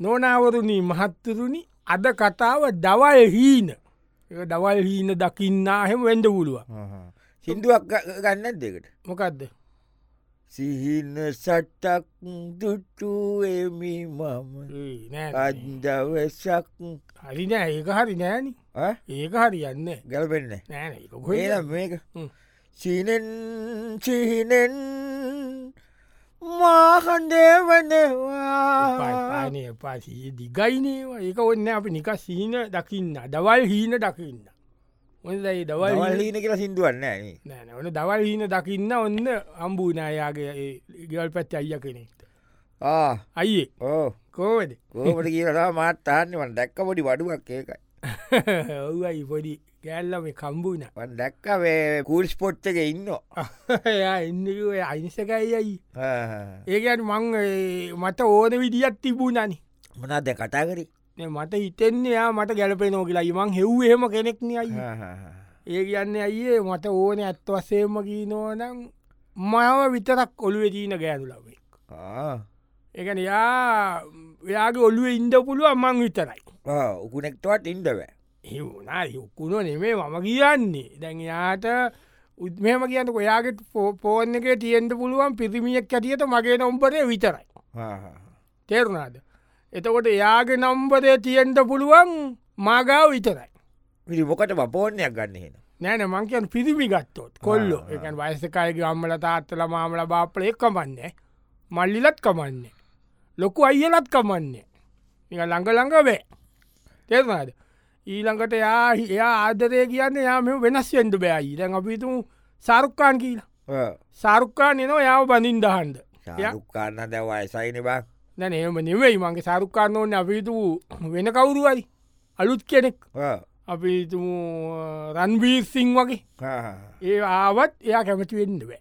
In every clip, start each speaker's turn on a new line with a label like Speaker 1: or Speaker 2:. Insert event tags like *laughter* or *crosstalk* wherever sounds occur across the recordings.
Speaker 1: නොනවරුණී මහත්තුරුණි අද කතාව දවල් හීන ඒක දවල් හීන දකින්නාහෙම වෙන්ඩ පුළුව
Speaker 2: සිින්දුවක් ගන්න දෙකට
Speaker 1: මොකක්ද
Speaker 2: සිහින සට්ටක් දුටුවමි මම
Speaker 1: ඒ නෑ.
Speaker 2: අදවසක්
Speaker 1: හරි නෑ ඒක හරි නෑන ඒක හරි යන්න
Speaker 2: ගැල්පෙන්න
Speaker 1: නෑ
Speaker 2: හේනම් මේක
Speaker 1: හ්ම්.
Speaker 2: සිනෙන් සිහිනෙන් මාහන්දේවනවා
Speaker 1: පානය පාසයේ දිගයිනේවා ඒක ඔන්න අප නික සීන දකින්න දවල් හීන දකින්න ඔොදයි දවල් හීන-
Speaker 2: වල්ලීන කියලා සිින්දුවන්න ඇ
Speaker 1: නෑ නෑ, ඔන්න දවල් හීන දකින්න ඔන්න අම්බූනෑයාගේ ඒ ගෙවල් පැත් අයිය කෙනෙක්ට අයියේ
Speaker 2: ඕ
Speaker 1: *laughs* කෝවද
Speaker 2: කෝමට කියලා මාත්තාන්න වන් දැක්ක පොඩි වඩුවක් ඒකයි
Speaker 1: ඔවයි පොඩි කෑල්ලම කම්බුන
Speaker 2: වන් දැක්කවේ කූල්ස් පොට් එක ඉන්න
Speaker 1: *laughs* එයා එන්නකය අයිනිසකයියි ඒකන් මං ඒ මට ඕන විදිියත් තිබුණනි
Speaker 2: මොනාද කටාකරි
Speaker 1: නේ මට හිතෙන්නේ යා මට ගැලපෙනෝ කියලා ඉමං හෙව්හෙම කෙනෙක්න අයි ඒ කියන්න අයියේ මට ඕන ඇත්ත වසේම ගීනෝනම් මව විතරක් ඔළුවේ දීන ගෑනු ලබෙක් ඒකන යා යාගේ ඔල්ලුව ඉන්ඩ පුළුව මං විතරයි
Speaker 2: උකුනෙක්ටවත් ඉන්දව
Speaker 1: හිවුණා යොක්කුණො නෙමේ මම කියන්නේ දැන් යාට උත්මම කියන්න ඔයාගේ පෝර්න එක තියෙන්ට පුළුවන් පිරිමියක් ඇටියට මගේ නොම්පරය විතරයි තේරුණාද එතකොට එයාගේ නම්බරය තියෙන්ට පුළුවන් මාගාව විතරයි
Speaker 2: විරි මොකට පෝර්ණයක් ගන්න හෙන
Speaker 1: නෑන මංකයන් පිරිමි ගත්තොත් කොල්ලො
Speaker 2: ආ, ආ.
Speaker 1: එකන් වයසකයගේ අම්මල තාත්තල මාමල බාපලය කමන්නේ මල්ලිලත් කමන්නේ ලොකු අයියලත් කමන්නේ නික ළඟළඟ වේ තෙරනාද ඊළඟට යා එයා ආදරය කියන්න යාම වෙනස් වෙන්ඩ බෑයි දැන් අපිතු සාරුක්කාන් කියලා සාරුක්කා නනෝ යාව බඳින් දහන්ද
Speaker 2: රුක්කාන්න දැව අයසයින බා
Speaker 1: දැන එම නෙවෙයි මගේ සාරුක්කාන්න ඕන්න අපිතු වෙන කවුරුවරි අලුත් කෙනෙක් අපිතු රන්වීර් සිං වගේ ඒ ආවත් එයා කැමති වෙන්න බෑ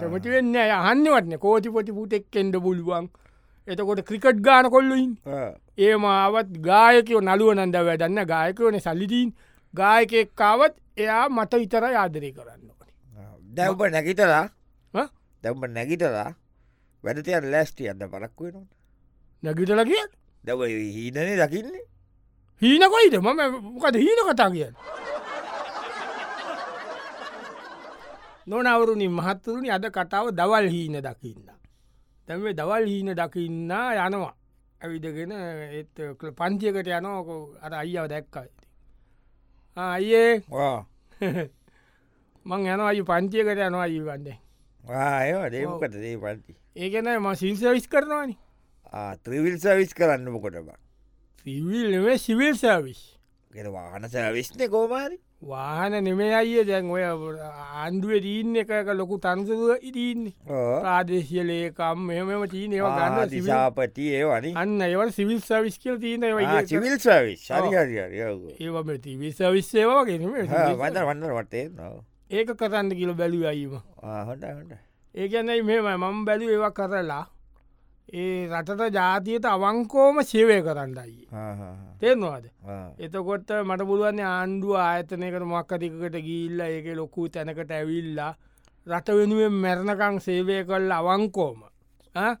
Speaker 1: කැමති වෙන්න යහන්නවත්න කෝතිපොති පුටෙක් එෙන්ඩ පුලුවන් එතකොට ක්‍රිකට් ගාන කොල්ලුයින් ඒ මාවත් ගායකෝ නලුව නන්ද වැඩන්න ගායකවන සල්ලිදීන් ගායකෙක්කාවත් එයා මට විතර ආදරය කරන්න ඕනේ
Speaker 2: දැව්බ නැගිටලා
Speaker 1: ඈ?
Speaker 2: දැම්බ නැගිටලා වැඩතයන් ලැස්ටි අන්න පරක් වෙනවා
Speaker 1: නැගිටල කිය
Speaker 2: දැව හීනනේ දකින්නේ
Speaker 1: හීනකොයිද මම මොකද හීන කතා කියන්න නොනවරුණින් මහත්තුරුණි අද කතාව දවල් හීන දකින්න. තැම දවල් හීන දකින්න යනවා ඇවිදගෙන ඒත් කළ පන්තියකට යනෝකෝ අර අයිාව දැක්කයි. අයේ *laughs* මං යන අයි පන්තියකට යනවා අයිවන්නේ
Speaker 2: ආය දේමකට දේ පන්ති
Speaker 1: ඒකන ම සිල්සවිස් කරනවානි
Speaker 2: ත්‍රවිල් සවිස් කරන්න මොකොට බක්
Speaker 1: සිවිල් සිවිල් සර්විස්.
Speaker 2: වාහන සැවිස්නය කෝමාරි
Speaker 1: වාහන නෙමේ අයිය දැන් ඔය ආණ්ඩුව දීන්න එකක ලොකු තන්සුව ඉතින්නේ ප්‍රාදේශය ලේකම් මෙමම තිීනව ගන්න සිවිල්-
Speaker 2: දිසාපති ඒ වනි
Speaker 1: අන්න ඒවල් සිවිල් සවිස් කියල් තියන
Speaker 2: චිවිල් සවිස් හරිහරිරියකු
Speaker 1: ඒම විසවිස්සේවාගෙනම
Speaker 2: මත වන්න වටේ
Speaker 1: ඒක කරන්න කියල බැලු අයිීම
Speaker 2: හොට
Speaker 1: ඒකැනයි මෙම මම බැලු ඒව කරලා ඒ රටට ජාතියට අවංකෝම සේවය කරන්නයි
Speaker 2: Ah, හොට
Speaker 1: තේරවාද එතකොට මට පුළුවන් ආණ්ඩුව ආයතනයකට මක්කතිකට ගිල්ල ඒක ලොකු තැනකට ඇවිල්ලා රට වෙනුවෙන් මැරණකං සේවය කල් අවංකෝම ඈ?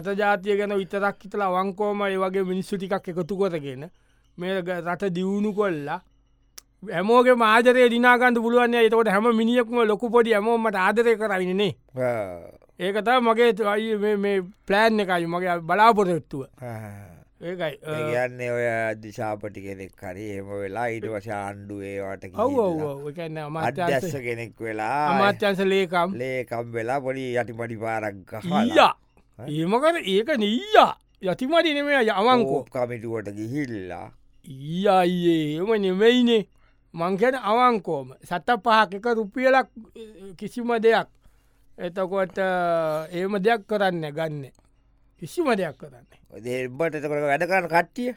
Speaker 1: රට ජාතිය ගැන විතරක් හිතල අවංකෝම ඒ වගේ මිනිස්සු ටිකක් එකතු කොතගෙන මේ ග- රට දියුණු කොල්ලා හැමෝගේ මාදරය දිනාගන්ඩ පුළුවන් එතකොට හැම මිනිියක්ම ලොකු පොඩි ඇමෝමට ආදරය කරන්නේනේ ඒකතා මගේ අයි මේ ප්ලෑන් එකයි මගේ බලාපොරොත්තුව
Speaker 2: ah,
Speaker 1: ඒකයි අ,
Speaker 2: කියන්නේ ඔය දිසාපටි කෙනෙක් කරි එම වෙලා ඉට වශ ආණ්ඩු ඒවාට
Speaker 1: ඔව් ඔව් ඔව්. ඒ කියන්නේ අමාත්‍යංශ-
Speaker 2: අදැස්ස කෙනෙක් වෙලා
Speaker 1: අමාත්‍යංශ ලේකම්
Speaker 2: ලේකම් වෙලා පොඩි යටිපටි පාරක්
Speaker 1: ඊයා ඒමකට ඒක නීයා යතිමට නෙමේ යවංකෝ
Speaker 2: කෝප් කමිටුවට ගිහිල්ලා
Speaker 1: ඊයායේ එම නෙමෙයිනේ මංකැන අවංකෝම සත පහක එක රුපියලක් අ, කිසිම දෙයක් එතකොට ඒම දෙයක් කරන්න ගන්න කිසිම දෙයක් කරන්න
Speaker 2: දෙබට එතකට වැඩකරන කට්ටිය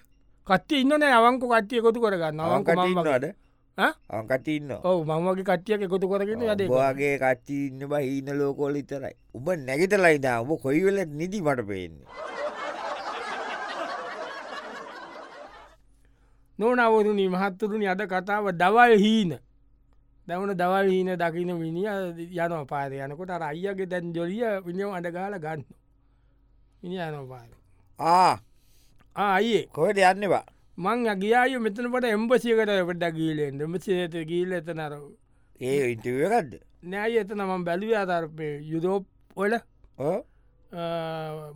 Speaker 1: කත්ති ඉන්නන අවංක කට්ටිය කොතු කරගන්න අවංක මම
Speaker 2: කටන්නට
Speaker 1: ඈ?
Speaker 2: අකටඉන්න
Speaker 1: ඔව මමගේ කට්ටියක කොතු කරගෙන යද
Speaker 2: වාගේ කට්ටින්න බ හීන ලෝකෝල ඉතරයි උබ නැගිතලයිදා ඔබ කොයිවෙල නිදි මට පේන්නේ
Speaker 1: නොනවරුණි මහත්තුරුණි අද කතාව දවල් හීන දැවන දවල් හීන දකින මිනි යන පාර යනකොට අර අයියගේ දැන් ජොලිය විනිියව අඩගාල ගන්න මිනි යන පාර
Speaker 2: ආ
Speaker 1: ආයේ
Speaker 2: කොහට යන්නවා
Speaker 1: මං අගියාය මෙතනට එම්බසිකට පට ගීලෙන්ට මෙසිේත ගීල එතනර
Speaker 2: ඒ ඉන්ටවකක්ද
Speaker 1: නෑයි එතන මං බැලුව අතර්පය යුදෝප් ඔල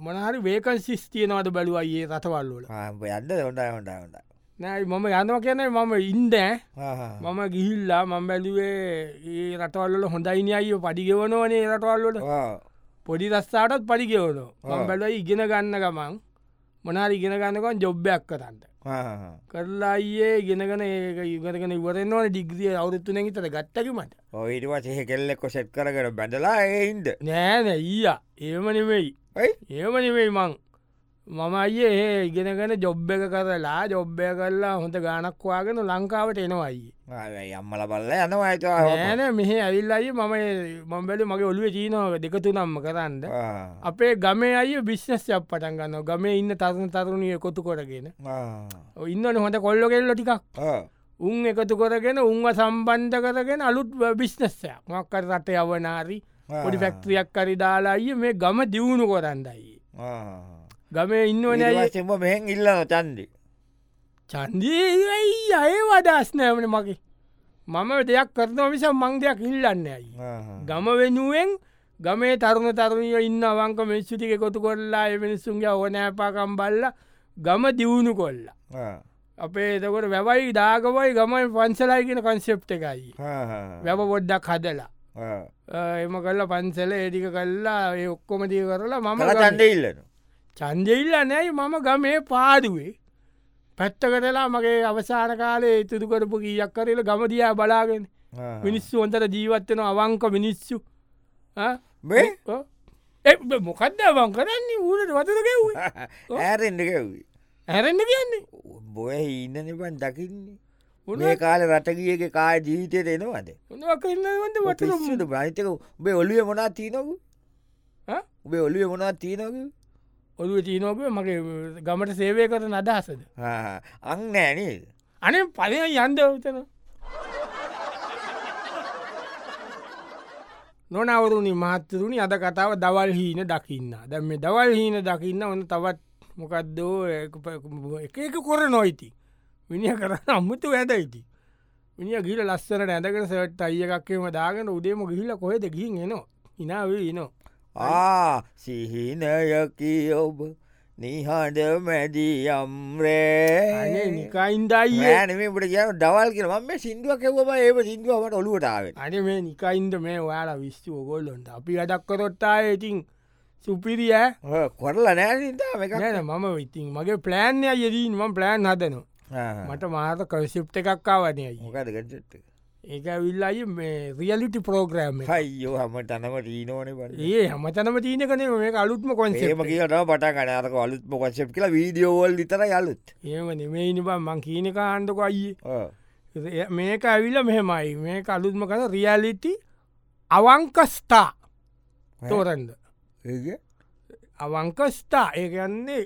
Speaker 1: මොනහරි වේකන් ශිස්තියනවට බැලුව අයේ රටවල්ලල
Speaker 2: යන්න හොඩයි හොඩා හොඩ
Speaker 1: නෑ මම යනවා කියන මම ඉන්දෑ මම ගිහිල්ලා මං බැලුවේ ඒ රටවල්ල හොඳයිනි අයෝ පඩිගෙවනවනේ රටවල්ලට පොඩි රස්සාටත් පරිගෙවනෝ මං
Speaker 2: ආ.
Speaker 1: බැලයි ඉගෙන ගන්න ගමන් මොනාරි ඉගෙන ගන්නකොන් ජොබ්බයක් කරන්න කරලා අයේ ගෙනගෙන ඒක ඉගරගෙන ඉවරෙන්වන ඩිග්‍රිය අවුත්තු නැගතට ගත්තක මට
Speaker 2: ඔයිට වසහ කෙල්ලෙක්කො සෙට් කරකට බැඳලා ඒයින්ද
Speaker 1: නෑන ඊය ඒම නෙවෙයි
Speaker 2: ඇයි
Speaker 1: ඒම නෙවෙයි මං මම අයේ ඒ ඉගෙනගෙන ජොබ්බ එක කරලා ජොබ්බය කරලා හොඳ ගානක්වාගෙන ලංකාවට එනවයි
Speaker 2: අම්මල බල්ල යනවා ඇතවා
Speaker 1: නෑන මෙහ ඇවිල්ලයි මම මම්බැලි මගේ ඔලුව චීනාව දෙකතු නම්ම කරන්න අපේ ගමේ අය විශ්නස්යක් පටන් ගන්න ගමේ ඉන්න තරුණ තරුණිය කොතු කොටගෙන ඔය ඉන්නවනේ හොඳ කොල්ලො කෙල්ල ටිකක් උන් එකතු කොරගෙන උන්ව සම්බන්ධ කරගෙන අලුත් බිස්නස්සයක් මක්කර රට යවනාරි පොඩි ෆැක්ට්‍රියක් කරි දාලාය මේ ගම දියුණු කොරන්දයි. ගමේ ඉන්නවන
Speaker 2: ම මෙහෙන් ඉල්ලන චන්දි
Speaker 1: චන්දීයි අය වදස්නෑමන මගේ මම දෙයක් කරනව මිස මං දෙයක් ඉල්ලන්න ඇයි. ගම වෙනුවෙන් ගමේ තරුණ තරුණය ඉන්න අවංක මිස්සුටික කොතු කොල්ලා එ මිනිස්සුන්ගේ ඕනෑපාකම් බල්ල ගම දියුණු කොල්ලා. අපේ එතකොට වැවයි දාගවයි ගමයි පන්සලයි කියෙන කන්සෙප් එකයි වැව පොඩ්ඩක් හදලා අ, එම කල්ල පන්සල ඒටික කල්ලා ඒ ඔක්කොම දී කරලා මම
Speaker 2: මල
Speaker 1: ගමේ.
Speaker 2: චන්ඩ ඉල්ලන
Speaker 1: චන්දෙඉල්ල නෑයි මම ගමේ පාඩුවේ පැත්ත කරලා මගේ අවසාන කාලේ ඉතුදු කරපු ගීයක් කරල ගම දයා බලාගෙන මිනිස්සු ොන්තර ජීවත්වෙන අවංක මිනිස්සු ආ?
Speaker 2: මේ
Speaker 1: ඔව්. ඒ බ- මොකක්ද අවං කරන්නේ ඌට වතුරගේ වූ
Speaker 2: *laughs* ඇරෙන්ඩකවී
Speaker 1: හැරන්න කියන්නේ
Speaker 2: බොය ඉන්න නිබන් දකින්නේ මේ
Speaker 1: උන
Speaker 2: කාල රටගියගේ කාය ජීවිතයට එනවාද
Speaker 1: කරන්නට වතුර
Speaker 2: ට බ්‍රහිතක උබේ ඔලිය මොනා තිීනකු
Speaker 1: ආ?
Speaker 2: උබේ ඔලිය මොනා තිීනක
Speaker 1: ඔළුව චීනෝක මගේ ගමට සේවය කරන අදහසද.
Speaker 2: අං නෑනේද
Speaker 1: අනේ පලය යන්ද උතන නොනවරුණනි මහත්තරුණි අද කතාව දවල් හීන දකින්න දැම මේ දවල් හීන දකින්න ඔන්න තවත් මොකක්දෝ එක එක කොර නොයිති මිනිිය කරන්න අම්මතු ඇදයිති මිනි ගිල ලස්සන ඇදකට සට අය එකක්කේම දාගෙන උදේම ගිහිල කොහෙද ගින් එනවා ඉනාවේ නවා
Speaker 2: ආ සිහිනයකි ඔබ නිහඬ මැදී
Speaker 1: අනේ
Speaker 2: යම්රේ
Speaker 1: නිකයින්දයියේ
Speaker 2: නමට කිය දවල් කියල ම සිින්දුව කෙවම ඒ සිින්දුවට ඔලුවටාව
Speaker 1: අන මේ නිකයින්ද මේ ඔයාලා විස්්චි ඔගොල්ලොන්ට අපි වැඩක්කරොත්තා ඉතින් සුපිරිය
Speaker 2: කොරල නෑතා එක
Speaker 1: ගැන මම ඉතින් මගේ ප්ලෑන්ය යෙදීන් ම ප්ලෑන් හදනු මට මාත කසිප් එකක්කාවනයයි
Speaker 2: මොකද ගට
Speaker 1: ඒක විල්ලායි මේ රියලිටි පෝග්‍රෑම්
Speaker 2: හයිෝ හම තනම ටීනෝන පට
Speaker 1: ඒ හමතනම තීන කන මේ අලුත්ම කොන්සේ
Speaker 2: ඒම කියටම පට කනරක අලුත්ම කොන්සප් කියලා වීඩියෝවල් විතර යලුත්
Speaker 1: ඒම නෙමයිනිබම් මං කීනක ආණ්ඩක අයියේ එය- මේක ඇවිල්ල මෙහෙමයි මේ අලුත්ම කන රියලිටි අවංකස්ථා තෝරන්ද අවංකස්ථා ඒකයන්නේ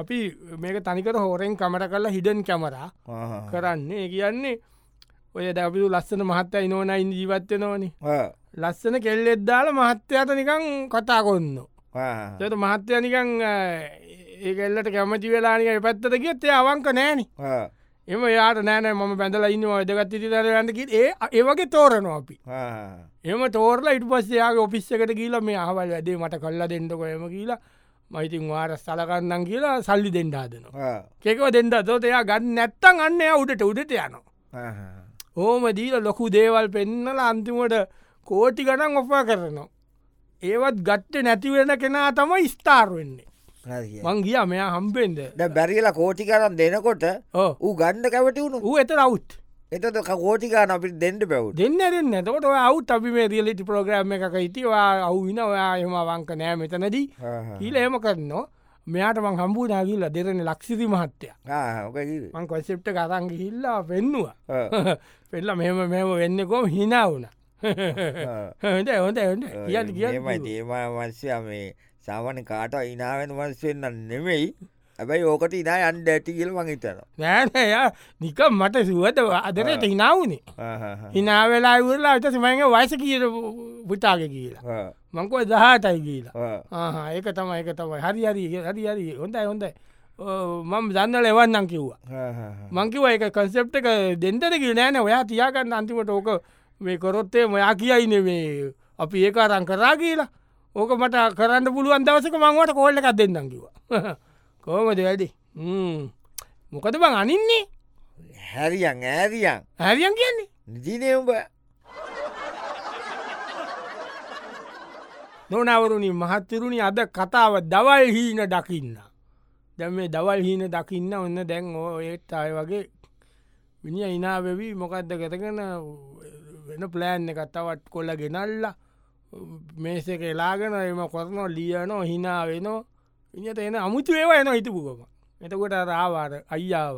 Speaker 1: අපි මේක තනිකට හෝරෙන් කමට කරලා හිඩන් කැමරා කරන්නේ ඒ කියන්නේ ඔය දැපිතු ලස්සන මහත්තයි නෝනයින් ජීවත්ව නොනේ ලස්සන කෙල්ලෙත් දාල මහත්‍යයට නිකං කතා කොන්න තට මහත්‍යය නිකං ඒ කෙල්ලට කැමති වෙලානික පැත්තට ගියත් ඒ අවංක නෑන එම යාට නෑනෑ මම පැඳල ඉන්න වැදගත් ඉතිතර ඇඳකි ඒ ඒවගේ තෝරනවා අපි එම තෝරලා ඉට පස්සයාගේ ඔෆිස් එකට කියලා මේ අහවල් ඇදේ මට කල්ලා දෙන්නකො එම කියලා මයිතින් වාර සලකන්නන් කියලා සල්ලි දෙන්ඩාදනවා කෙකව දෙන්න තෝට එයා ගන්න නැත්තන් අන්න එයා උඩට උඩට යනවා හෝම දීල ලොකු දේවල් පෙන්නල අන්තිමට කෝටි ගනන් ඔපා කරනවා. ඒවත් ගට්ට නැතිවෙන කෙනා තමයි ස්ථාර් වෙන්නේ. මං ගිය මෙයා හම්පෙන්ද.
Speaker 2: බැරිල කෝටි කරන් දෙනකොට
Speaker 1: ඕ
Speaker 2: ඌ ගණ්ඩ කැවටි වුණු
Speaker 1: ඌ එත රවු්
Speaker 2: එතට කෝටිකාන අපිට දෙන්නට පැවුට
Speaker 1: දෙන්න දෙන්න තකොට අවුත් අපි මේ දියලිටි ප්‍රෝග්‍රම් එක හිතිවා අවුවින ඔයා එම අවංක නෑ මෙතනදී කියීල එම කරනවා මෙයාට මං හම්බූනාගිල්ල දෙරන ලක්ෂිති මහත්තය මං කොසෙප්ට කරංගි හිල්ලා *laughs* පෙන්නවා පෙල්ල මෙම මෙම වෙන්නකෝ හිනාවුන *laughs* හොට හොට හොට කිය
Speaker 2: ඒමයි
Speaker 1: කිය
Speaker 2: දේමය වන්සය මේ සාමන කාට ඉනාවෙන් වන්සවෙන්න නෙමෙයි ඇබැයි ඕකට ඉනා අන්ඩ ඇටි කියල මහිතන
Speaker 1: නෑනය නික මට සුවත අදරට හිනාවනේ හිනාවෙලා ඉවරලා අට සමයිගේ වයිස කියට පුතාග කියලා මංකුව දහටයි කියලා ආහා, ඒක තමයි එක තමයි හරි හරි හරි හරි හොඳයි හොඳයි මම දන්න ලෙවන්නම් කිව්වා මංකිව එක කන්සෙප්ට එක දෙන්ටද කිය නෑන ඔයා තියාගන්න අන්තිමට ඕක මේ කොරොත්තේ මොයා කියයින මේ අපි ඒක අරං කරා කියලා ඕක මට කරන්න පුළුවන් දවසක මංවට කෝල්ල එකක් දෙන්නම් *laughs* කිවා කෝමද වැඩි මොකද බං අනින්නේ
Speaker 2: හැරියන් ඇරියන්
Speaker 1: හැරියන් කියන්නේ
Speaker 2: නිදිනයඋඹ
Speaker 1: නොනවරුණි මහත්තරුණි අද කතාව දවල් හීන දකින්න. දැම මේ දවල් හීන දකින්න ඔන්න දැන් ඕ ඒත් අය වගේ විනි ඉනාවවී මොකක්ද ගතගෙන වෙන ප්ලෑන් එකත්තවත් කොල්ල ගෙනල්ල මේසක එලාගෙන එම කොරනො ලියනෝ හිනාවෙනෝ විනිට එන අමුතු ඒවා එන හිතපුකම එතකොට රාවාර අයියාව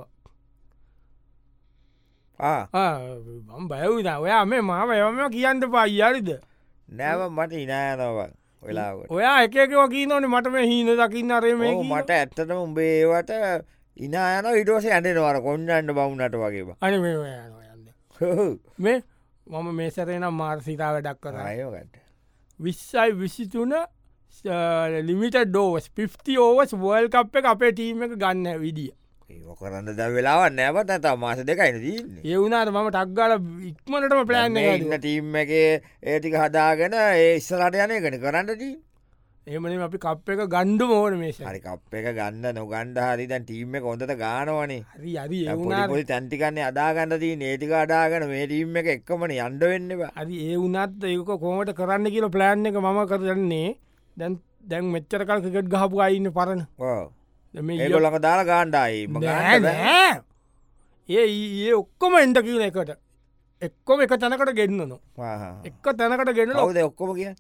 Speaker 1: බම් බයවිද ඔයා මේ මාව එවම කියන්න පයියාරිද
Speaker 2: නෑව මට ඉනායනව වෙලාවට
Speaker 1: ඔයා එකක වකී නොන මට මේ හීන දකින්න අරේ මේ
Speaker 2: ඕ මට ඇත්තටම උඹේවට ඉනායන ඉටෝස ඇඩෙනවර කොන්නන්න බවුනට වගේම
Speaker 1: අන යන්න මේ මම මේ සැරේනම් මාර්සිතාව ඩක් කරයි
Speaker 2: අයෝගට
Speaker 1: විශ්සයි විසිතුන ලිමිට ඩෝස් 50 ඕවස් වල් කප් එක අපේ ටීම එක ගන්න විඩිය
Speaker 2: ඒක කරන්න ද වෙලාවත් නෑවත් ඇත මාස දෙකයින දීන්නේ
Speaker 1: ඒවුනාට මම ටක්ගල ඉක්මනටම ප්ලෑන්
Speaker 2: ඉන්න ටීම් එක ඒටික හදාගෙන ඒ ඉස්සරට යනයකට කරන්නට
Speaker 1: එමන අපි කප් එක ගණ්ඩු මෝන මේස
Speaker 2: හරි කප් එක ගන්න නොගන්ඩ හරිතන් ටීම්ම කොඳට ගානවනේ
Speaker 1: හරි අරි ඒවුනා
Speaker 2: පොලි තැන්තිකන්නේ අදාගන්නදී නේතික අඩාගන මේ ටීම් එක එක්කමන අන්ඩ වෙන්නවා
Speaker 1: හරි ඒ වනත් ඒක කෝමට කරන්න කියල ප්ලෑන් එක මම කරන්නේ දැන් දැන් මෙච්චර කල් ක්‍රිකට් ගහපු අයින්න පරණ දැන් මේ ඊයේ-
Speaker 2: ඒගොලක දාලා ගාණ්ඩායි
Speaker 1: නෑ, නෑ. ඒ ඒ ඔක්කොම එන්ට කියන එකට එක්කොම එක තැනකට ගෙන්න්නනො එක තැනකට ගෙනන
Speaker 2: කවද ඔක්කොම කිය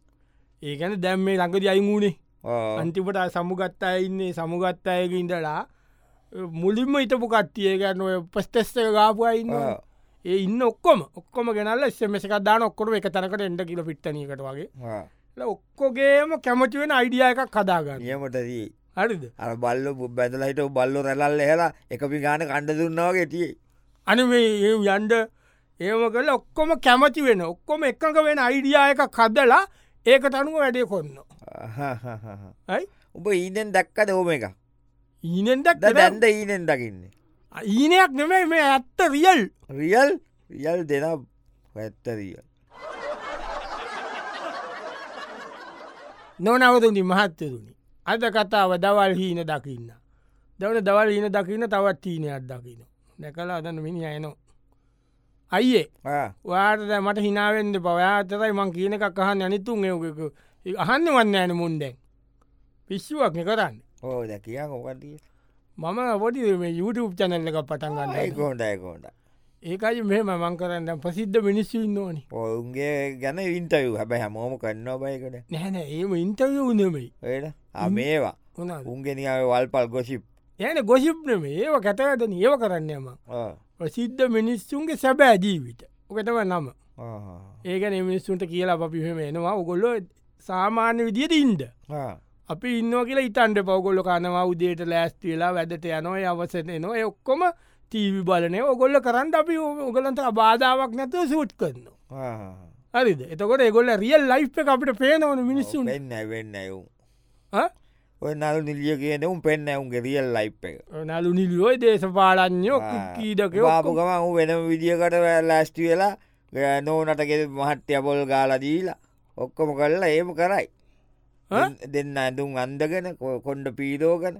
Speaker 1: ඒකැන දැම් මේ ලඟද අයිමුණේ අන්තිපට සමුගත් අයඉන්නේ සමුගත් අයක ඉඳලා මුලින්ම ඉතපු කට්ටිය ගැන ඔය පස්ටෙස්ක ගාපුයින්න ඒ ඉන්න ඔක්කොම ඔක්කොම ගෙනල සමසක දාන ඔක්කොට එක තැනකට එන්ඩ කියල පිට්ටනකට වගේ ල ඔක්කොගේම කැමතිවෙන අයිඩිය එකක් කදාගන්න
Speaker 2: නියමටදී
Speaker 1: හරිද
Speaker 2: අර බල්ල බැදල හිට බල්ලො රැල්ල හෙලා එක පිගාන කණ්ඩ දුන්නාවගේ තිය
Speaker 1: අනි ඒ යන්ඩ ඒම කල ඔක්කොම කැමති වෙන ඔක්කොම එකක වෙන අයිඩියා එක කදලා ඒක තනුව වැඩේ කොන්න ඇයි
Speaker 2: උඹ ඊනෙන් දැක්කද ඕම එක
Speaker 1: ඊනෙන්ටක්
Speaker 2: දැන්ද ඊනෙන් දකින්නේ
Speaker 1: ඊනයක් නෙමයි මේ ඇත්ත රියල්
Speaker 2: රියල් රියල් දෙන පැත්ත රියල්
Speaker 1: නොනවතුනි මහත්තරුණි අද කතාව දවල් හීන දකින්න දවන දවල් හීන දකින්න තවත් තීනයක් දකින දැකලා අදන මිනි අයනෝ අයියේ වාර්ත මට හිනාවෙන්ද පවයාතරයි මං කියනක අහන්න අනිතුන් යෝකක අහන්න වන්න ඇන මුන්දැන් පිස්සුවක් කරන්න
Speaker 2: ඕ දැකිය ඕකතිය
Speaker 1: මම පොටි මේ YouTube චැනල්ල එකක් පටන් ගන්න
Speaker 2: ඒකෝටයකෝට
Speaker 1: ඒකයි මේ මං කරන්න ප්‍රසිද්ධ මිනිස්සු ඉන්න ඕනි
Speaker 2: ඔවුන්ගේ ගැන ඉන්ටයු හැබැ හැමෝම කන්න බයකට
Speaker 1: නැහැන ඒම ඉන්ටර්ය උනමයි
Speaker 2: ඒට අමේවා
Speaker 1: හොනාද
Speaker 2: උන්ගෙනාව වල්පල් ගොසිප්
Speaker 1: යන ගොසිප්නම ඒව කැතඇත ඒව කරන්නම ප්‍රසිද්ධ මිනිස්සුන්ගේ සැබෑ ජීවිත ඔකතව නම ඒකන මිනිස්සුන්ට කියලා අපිහම එනවා ඔගොල්ලො සාමාන්‍ය විදියට ඉන්ඩ අපි ඉන්න කියලා ඉතන්ට පවගොල්ල කනවා උදේට ලෑස්ති වෙලා වැදට යනෝ අවසන නො ඔක්කොම තීවි බලනය ඔගොල්ල කරන්න අපි ඔගලන්ට බාධාවක් නැතුව සූට් කරනවා හරිද එතකොට එගොල්ල රියල් ලයි් එක අපිට පේනවන මිනිස්සුන්
Speaker 2: වෙන්න වෙන්න ඇවු ඔය නල් නිල්ිය කියන උම් පෙන්න්න ඇවුන්ගේ රියල් ලයි් එක
Speaker 1: නලු නිලියෝයි දේශපාලඥෝ කීඩකෝ
Speaker 2: ආපුකම ඌ වෙනම විදිියකට ලෑස්ටි වෙලා ගේ නෝනටගෙ මහට්‍ය පොල් ගාලදීලා ඔක්කොම කල්ලා ඒම කරයි
Speaker 1: ඈ?
Speaker 2: දෙන්න- දෙන්න ඇඳුම් අන්දගෙන කො- කොණ්ඩ පීරෝගන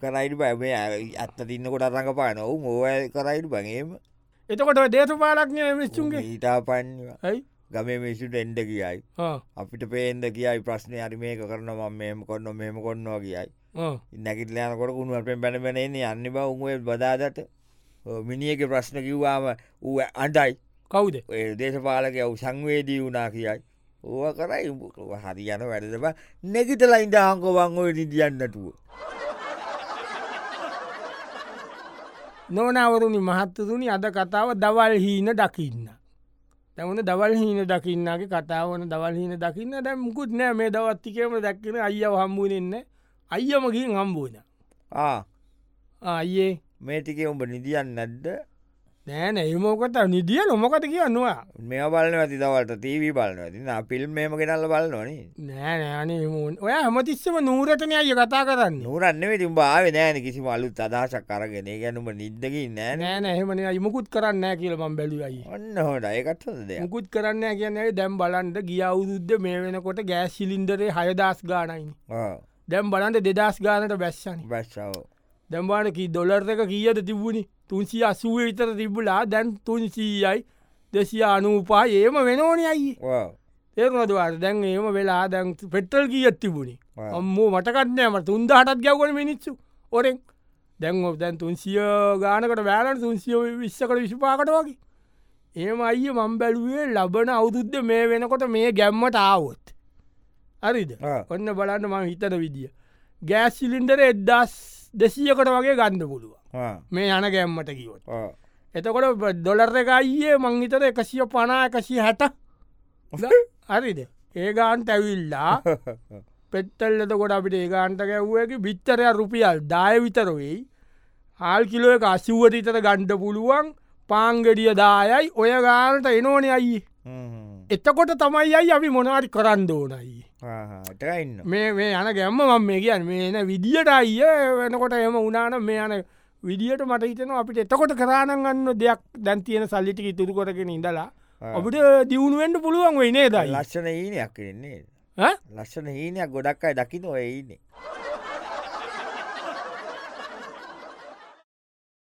Speaker 2: කරයිට බැබේ ඇත්ත තින්නකොට අරඟ පාන ඔවු මෝවල් කරයිට බගේම
Speaker 1: එතකොට ඔය දේශපාලඥය මිස්සුන්ගේ
Speaker 2: ඊතා පන්වා
Speaker 1: ඇයි
Speaker 2: ගමේ මිසුට එන්ඩ කියයි
Speaker 1: ආ,
Speaker 2: අපිට පේන්ද කියයි ප්‍රශ්නය අරි මේක කරන ම මෙම කොන්න මෙම කොන්නවා කියයි
Speaker 1: ආ.
Speaker 2: නැකිටලයනකොට කුණුවෙන් පැනපෙනන්නේ යන්න බව උුවේ බදාදට මිනිියක ප්‍රශ්න කිව්වාම ඌ අන්ටයි
Speaker 1: කවුද
Speaker 2: ඒ දේශපාලක ඔව් සංවේදී වුනා කියයි ඕ කරයි උඹ හරි යන වැඩදබ නැගිටලයින්ට හංකෝවංගෝ දිදියන්නටුව
Speaker 1: නොනවරුණි මහත්තතුනි අද කතාව දවල් හීන දකින්න. තැවන දවල් හීන දකින්නගේ කතාවන දවල් හීන දකින්න දැ මුකුත් නෑ මේ දවත්තිකේම දැක්කෙන අයිය හම්බුවෙන්න අයියමගින් හම්බුවන. අයියේ
Speaker 2: මේටිකේ උඹ නිදියන්න නැද්ද
Speaker 1: නෑන ඒමෝකට නිදිය නොමකට කියන්නවා
Speaker 2: මෙ බලන ඇති තවලට තීවී බලන ඇති පිල්ම් මේම කෙනල්ල බල නොනේ
Speaker 1: නෑනෑනේ මුන් ඔය හමතිස්සම නූරටනය අය කතා කරන්න
Speaker 2: නූරන්න වෙතින් බාව නෑන කිසි මලුත් අදහසක් කරගෙන ගැනුම නිද්දකින් නෑන
Speaker 1: නෑන එහෙමන යමුකුත් කරන්න කියලම බැලුවයි
Speaker 2: ඔන්න හොට ඒකත් හොඳ දෙයක්
Speaker 1: මුකුත් කරන්න කියන්නේ දැම් බලන්ට ගිය අවුරුද්ධ මේ වෙනකොට ගෑස් සිලින්දරේ හයදස් ගානයින් දැම් බලන්ට දෙදස් ගානට බැස්සන
Speaker 2: බස්සාව
Speaker 1: දැම්බානකි දොලර්දක කියද තිබුණි තුන්සි අසුව විතර තිබුලා දැන් තුන්සීයයි දෙසි අනූපා ඒම වෙනෝන අයි ඒරනදවාට දැන් ඒම වෙලා දැන් පෙට්ටල් කියත් තිබුණි
Speaker 2: ඔව්.
Speaker 1: අම්මෝ මටකත්නෑම තුන්දාටත් ගැවන මිනිස්සු ඔරෙන් දැන් ඔ දැන් තුන්සිය ගානකට බෑලට තුන්සිය විශ්සකට විශපාකට වගේ ඒම අයිය මම් බැලුවේ ලබන අවුදුද්ධ මේ වෙනකොට මේ ගැම්මට ආවොත් හරිද
Speaker 2: ඔව්.
Speaker 1: ඔන්න බලන්න මම හිතන විදිිය ගෑස්සිලින්ටර එද්දස් දෙසියකට වගේ ගණ්ඩ පුළුව මේ යන ගැම්මට කිවොත් එතකොට බ- දොලර් එක අයියේ මංහිතර එකසිය පනා එකසි හැට හරිද ඒගාන්ට ඇවිල්ලා පෙත්තල්ලත ගොඩ අපිට ඒගාන්ට ගැව්ුවකි බිත්තරය රුපියල් දාය විතර වෙයි හාල් කිලෝ එක අසිව්වට ඉතර ගණ්ඩ පුළුවන් පාංගෙඩිය දායයි ඔය ගානට එනෝන අයි එතකොට තමයි අයි අපි මොනවාරි කරන්න ඕනයි
Speaker 2: එටයින්න
Speaker 1: මේ මේ යන ගැම්ම මම මේ කියන් මේ එන විදිට අයිය වෙනකොට එම උනාන මේ යන විදිට මට හිතන අපිට එතකොට කරාණගන්න දෙයක් දැන් තියෙන සල්ලිටික ඉතුරු කොටගෙන ඉඳලා අපිට දියුණුවෙන්ට පුළුවන් වෙයිනේ දයි
Speaker 2: ලස්සන හීනයක් කරන්නේ ලස්සන හීනයක් ගොඩක් අයි දකින ඔයඉන්නේ